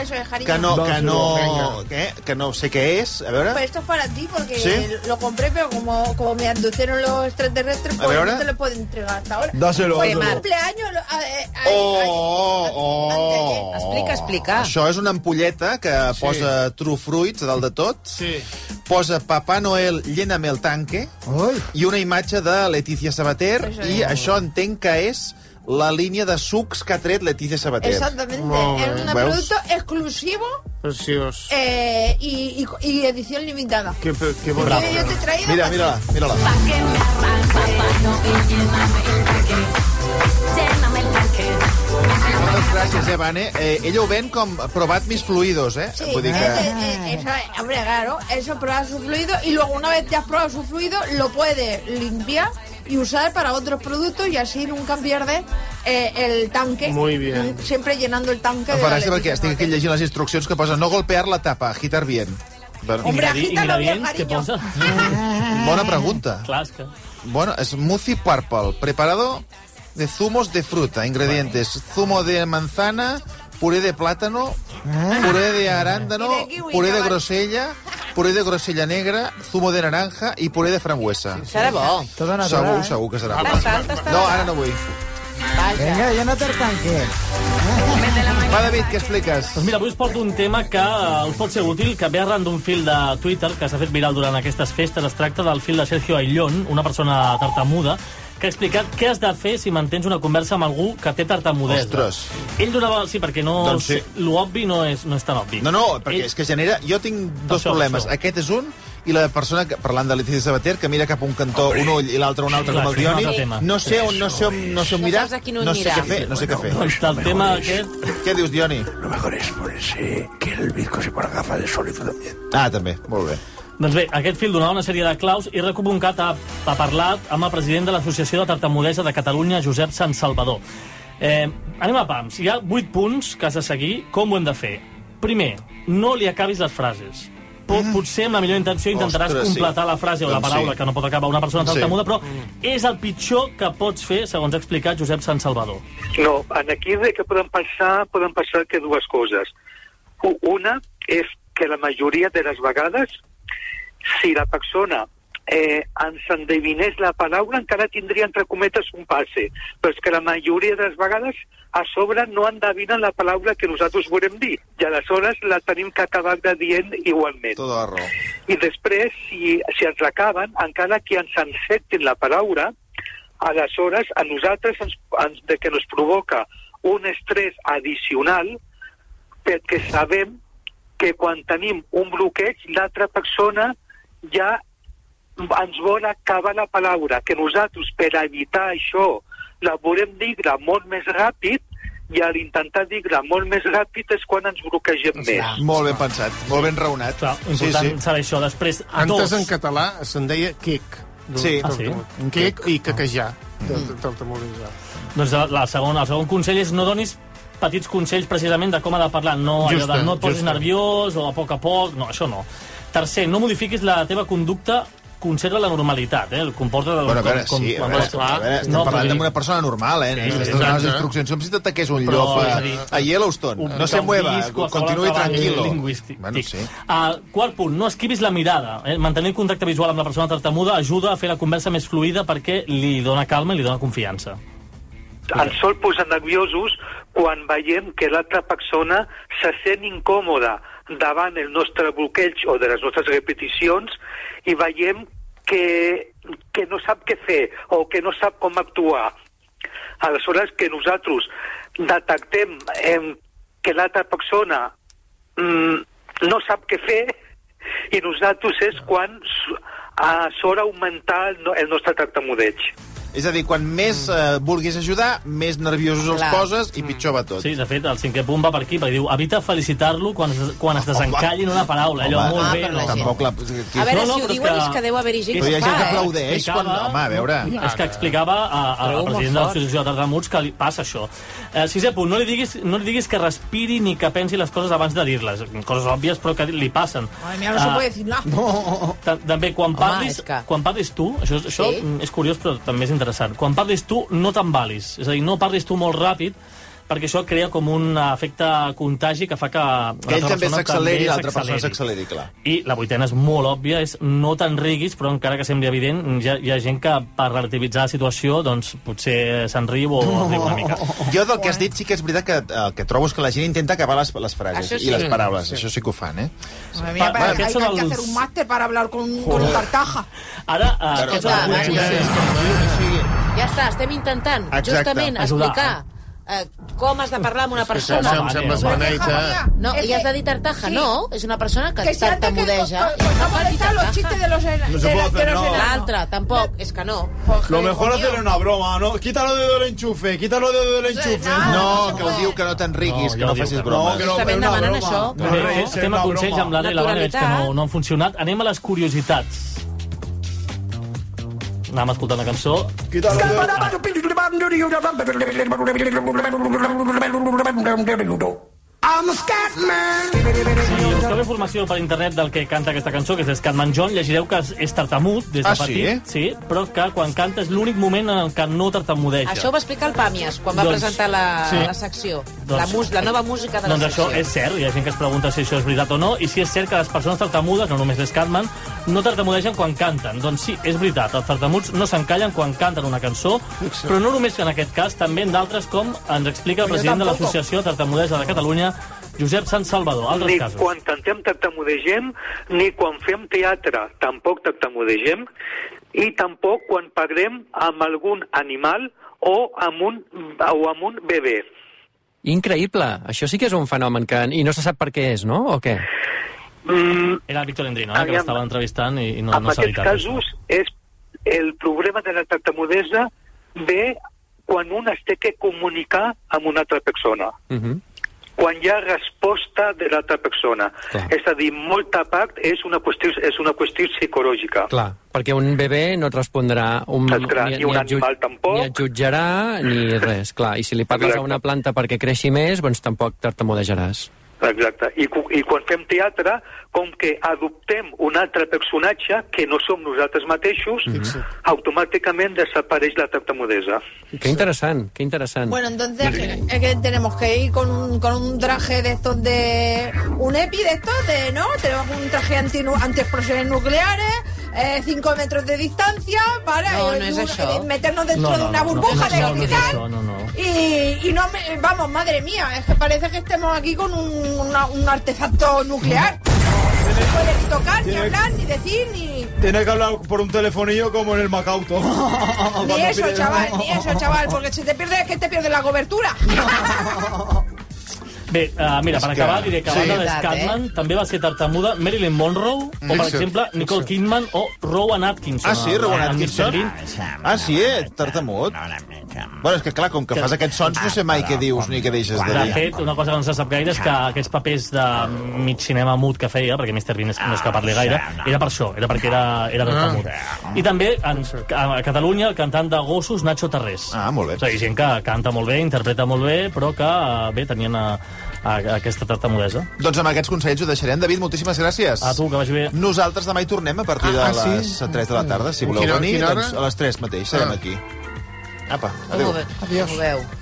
Eso es, cariño. que no, Dos que no, euros, que, que no sé qué es. A veure, Pues esto es para ti, porque ¿Sí? lo compré, pero como, como me abducieron los extraterrestres, A ver, pues ahora. no te lo puedo entregar hasta ahora. Dáselo, Oye, dáselo. cumpleaños. lo- a- eh, ay, Oh, ay, oh, oh. anteayer. Explica, explica. Això és una ampolleta que sí. posa true fruits a dalt de tot, Sí. posa Papà Noel lléname el tanque Ai. i una imatge de Letícia Sabater Això i això entenc que és la línia de sucs que ha tret Letícia Sabater. Exactamente. Molt Es bé. un Veus? producto exclusivo Preciós. eh, y, y- y edición limitada. Que, que Yo, bon... yo te he traído. Mira, para- mira-la, mira-la. Moltes gràcies, eh, Vane. Eh, ella ho ven com provat mis fluidos, eh? Sí, Vull dir eh, que... eh, eh, eso es- hombre, claro, eso prueba su fluido y luego una vez te has probado su fluido lo puedes limpiar y usar para otros productos y así nunca pierdes eh, el tanque. Muy bien. Mm, Siempre llenando el tanque. Em de fa la gràcia perquè Leticia estic aquí Sabater. llegint les instruccions que posen no golpear la tapa, agitar bien. Bueno, Hombre, Ingredi- agítalo bien, ingredients que cariño. posa. Bona pregunta. Clar, és que... Bueno, smoothie purple, preparado de zumos de fruta, ingredientes, zumo de manzana, puré de plátano, puré de arándano, Y de kiwi, puré de chaval. grosella, puré de grosella negra, zumo de naranja i puré de frambuesa. Serà bo. Todo natural. Segur, segur que serà. Tant, tant, tant, No, ara no vull. Vaja. Venga, Jonathan Tanque. Va, David, què expliques? Doncs mira, avui us porto un tema que eh, us pot ser útil, que ve arran d'un fil de Twitter que s'ha fet viral durant aquestes festes. Es tracta del fil de Sergio Aillón, una persona tartamuda, que ha explicat què has de fer si mantens una conversa amb algú que té tartamudesa. Ostres. Ell donava... Sí, perquè no... Doncs sí. L'obvi no, és, no és tan obvi. No, no, perquè Ell- és que genera... Jo tinc dos Això, problemes. això. Aquest és un, i la persona, que, parlant de Letícia Sabater, que mira cap a un cantó un ull i l'altre un altre Clar, com el això és un altre Dioni. tema. No sé on, no sé on, no sé on No mirar, saps a quin ull no sé mirar. què fer, no sé què fer. Doncs del tema aquest... Què dius, Dioni? Lo mejor es ponerse que el bizco se ponga gafas de sol y tú también. Ah, també, molt bé. Doncs bé, aquest fil donava una sèrie de claus i Recomuncat ha, ha parlat amb el president de l'Associació de Tartamudesa de Catalunya, Josep Sant Salvador. Eh, anem a pams. Hi ha vuit punts que has de seguir. Com ho hem de fer? Primer, no li acabis les frases. Pot, potser amb la millor intenció intentaràs Mm. Ostres, sí. completar la frase o la Doncs sí. paraula que no pot acabar una persona Sí. tartamuda, però és el pitjor que pots fer, segons ha explicat Josep Sant Salvador. No, en aquí de que poden passar, poden passar que dues coses. U- Una és que la majoria de les vegades, si la persona eh, ens endevinés la paraula, encara tindria, entre cometes, un passe. Però és que la majoria de les vegades a sobre no endevinen la paraula que nosaltres volem dir. I aleshores la tenim que acabar de dient igualment. Tota la raó. I després, si, si ens l'acaben, encara que ens encertin la paraula, aleshores a nosaltres ens, ens, de que ens provoca un estrès addicional perquè sabem que quan tenim un bloqueig l'altra persona ja ens vol acabar la paraula, que nosaltres per evitar això la volem dir molt més ràpid i a l'intentar dir-la molt més ràpid és quan ens bloquegem més. Molt ben pensat, molt ben raonat. Clar, important sí, sí. saber això. Després, Antes dos... en català se'n deia quic. Sí. Ah, Mm. sí? Un quic i caquejar. Tartamudisar. Doncs la- la segona, el segon consell és no donis petits consells precisament de com ha de parlar. No, allò Justa, de, no et posis justa. nerviós o a poc a poc, no, això no. Tercer, no modifiquis la teva conducta conserva la normalitat, eh? El comporta de, Bueno, a veure, sí, a veure, a veure estem parlant no, amb vull dir, una persona normal, eh? Sí, Estàs donant les exacte. instruccions com si t'ataqués un Però, llop és a, a dir, a Yellowstone. un- No se un mueva, disc, qualsevol continuï cavall tranquilo. lingüístic. Bueno, sí. Ah, quart punt, no esquivis la mirada. Eh? Mantenir el contacte visual amb la persona tartamuda ajuda a fer la conversa més fluida perquè li dona calma i li dona confiança. ens sol posar nerviosos quan veiem que l'altra persona se sent incòmoda davant el nostre bloqueig o de les nostres repeticions i veiem que, que no sap què fer o que no sap com actuar. Aleshores, que nosaltres detectem eh, que l'altra persona mm, no sap què fer i nosaltres és quan s- a, sort augmentar el, no, el nostre tartamudeig. És a dir, quan més eh, vulguis ajudar, més nerviosos els Clar. poses i pitjor va tot. Sí, de fet, el cinquè punt va per aquí, perquè diu evita felicitar-lo quan, es- quan es desencallin una paraula. Allò, Ah, Home, molt ah, bé, però no? la gent- Tampoc la... A veure, No, no, si ho però és diuen que- és que deu haver-hi gent Però hi que ha ho gent que fa, eh? aplaudeix quan... Explicava- Home, a veure... És que explicava a- a- al Prou president de fort. l'Associació de Tartamuts que li passa això. Eh, sisè punt, no li, diguis, no li diguis que respiri ni que pensi les coses abans de dir-les. Coses òbvies, però que li passen. Madre mía, Ah, no se Eh, puede decir nada. Ta- També, quan parlis, és que- quan parlis tu, això, és- això Sí. mm, és curiós però també és interessant, quan parlis tu no t'embalis, és a dir, no parlis tu molt ràpid, perquè això crea com un efecte contagi que fa que... Que ell l'altra també persona s'acceleri i també l'altra persona s'acceleri, clar. I la vuitena és molt òbvia, és no t'enriguis, però encara que sembli evident, ja, hi ha gent que per relativitzar la situació, doncs potser s'enriu o es riu una mica. Jo del que has dit sí que és veritat que eh, el que trobo és que la gent intenta acabar les, les frases Això sí. i les paraules. Sí. Això sí que ho fan, eh? Madre mía, Va- para- va, hay, aquests són hay que els- hacer un máster para hablar con, con Tartaja. Ara, eh, aquests són clar, els sí, punts. Ja està, estem intentant Exacte. justament Ajudar. explicar eh, com has de parlar amb una persona. sembla- sembla esmaneita. No, Ese- i has de dir tartaja, sí. no, és una persona que, Que si antes que tartamudeja. con- con- con- no molestar los chistes de los ena- No se de puede los- de hacer, los no. enanos. L'altra, tampoc, és que no. Jorge, coño. una broma, ¿no? Quítalo de del enchufe, quítalo de del enchufe. No, que ho diu que no t'enriguis, que No, jo no diu facis que no. bromes. No, Justament però una demanant broma. això. No, Bé, res, no, és estem una a consells broma. amb l'Adri la Vane, veig que no, Naturalitat. no han funcionat. Anem a les curiositats. Anàvem escoltant la cançó. Quítalo de- Si busqueu informació per internet del que canta aquesta cançó, que és Scatman John, llegireu que és- és tartamut des de Ah, sí? petit. Sí, però que quan canta és l'únic moment en el que no tartamudeja. Això ho va explicar el Pàmies quan va Doncs, presentar la, sí. la secció. Doncs- la, mus, la nova música de la Doncs això secció. és cert, hi ha gent que es pregunta si això és veritat o no, i si és cert que les persones tartamudes, no només les Catman, no tartamudegen quan canten. Doncs sí, és veritat, els tartamuts no s'encallen quan canten una cançó, però no només en aquest cas, també en d'altres, com ens explica el president de l'Associació Tartamudesa de Catalunya, Josep Sant Salvador. Altres ni casos. quan cantem tartamudegem, ni quan fem teatre tampoc tartamudegem, i tampoc quan parlem amb algun animal o amb un, o amb un bebè. Increïble. Això sí que és un fenomen que... I no se sap per què és, no? O què? Mm, Era el Víctor Endrino, eh, que Aviam. l'estava entrevistant i, i no, en no s'ha dit aquests res. casos és el problema de la tartamudesa ve quan un es té que comunicar amb una altra persona. Uh -huh. quan hi ha resposta de l'altra persona. Clar. És a dir, molta part és una qüestió, és una qüestió psicològica. Clar, perquè un bebè no et respondrà... Un, Saps, clar, ni un et jut- animal tampoc. Ni et jutjarà, ni res, clar. I si li parles a Exacte. una planta perquè creixi més, doncs tampoc tartamudejaràs. Exacte. I, cu- I quan fem teatre, com que adoptem un altre personatge que no som nosaltres mateixos, mm -hmm. automàticament desapareix la tartamudesa. Que interessant, que interessant. Bueno, entonces es que tenemos que ir con un, con un traje de estos de... Un EPI de estos de, ¿no? Tenemos un traje anti, anti explosiones nucleares, 5 metros de distancia, ¿vale? No, Y- no y es un- eso. eh, meternos dentro No, no, de una no, no, burbuja no, no, no, no es de eso, cristal. no, no. Y, y no me- Vamos, madre mía, es que parece que estemos aquí con un, una- un artefacto nuclear. No se puede ni tocar, ni hablar, ni decir, ni... Tienes que hablar por un telefonillo como en el Macauto. Cuando Ni eso, pides- chaval, ni eso, chaval, porque si te pierdes es que te pierdes la cobertura. Bé, uh, mira, per És que- acabar, diré que a sí. banda de Veritat, Scatman també va ser tartamuda Marilyn Monroe, o, per Fixa't, exemple, Nicole Kidman o Rowan Atkinson. Mm. Ah, sí? Rowan Eh, amb Atkinson? Mr. Bean. Ah, sí? Ets tartamut? Bueno, és que clar, com que fas aquests sons no sé mai què dius ni què deixes de De dir. fet, una cosa que no se sap gaire és que aquests papers de mm, mig cinema mut que feia, perquè Mr. Bean és- no és que parli gaire, Ah, era per això, era perquè era, era tartamut. I també en, a Catalunya el cantant de gossos Nacho Tarrés. Ah, molt bé. És a dir, gent que canta molt bé, interpreta molt bé, però que, eh, bé, tenien a, a, aquesta tartamudesa. Doncs amb aquests consells ho deixarem. David, moltíssimes gràcies. A tu, que vagi bé. Nosaltres demà hi tornem a partir de Ah, ah, sí? les 3 de la tarda. Si voleu Quina- venir, quina hora? doncs a les 3 mateix serem Ah. aquí. Apa, Com ho, adéu. ve, com ho veu?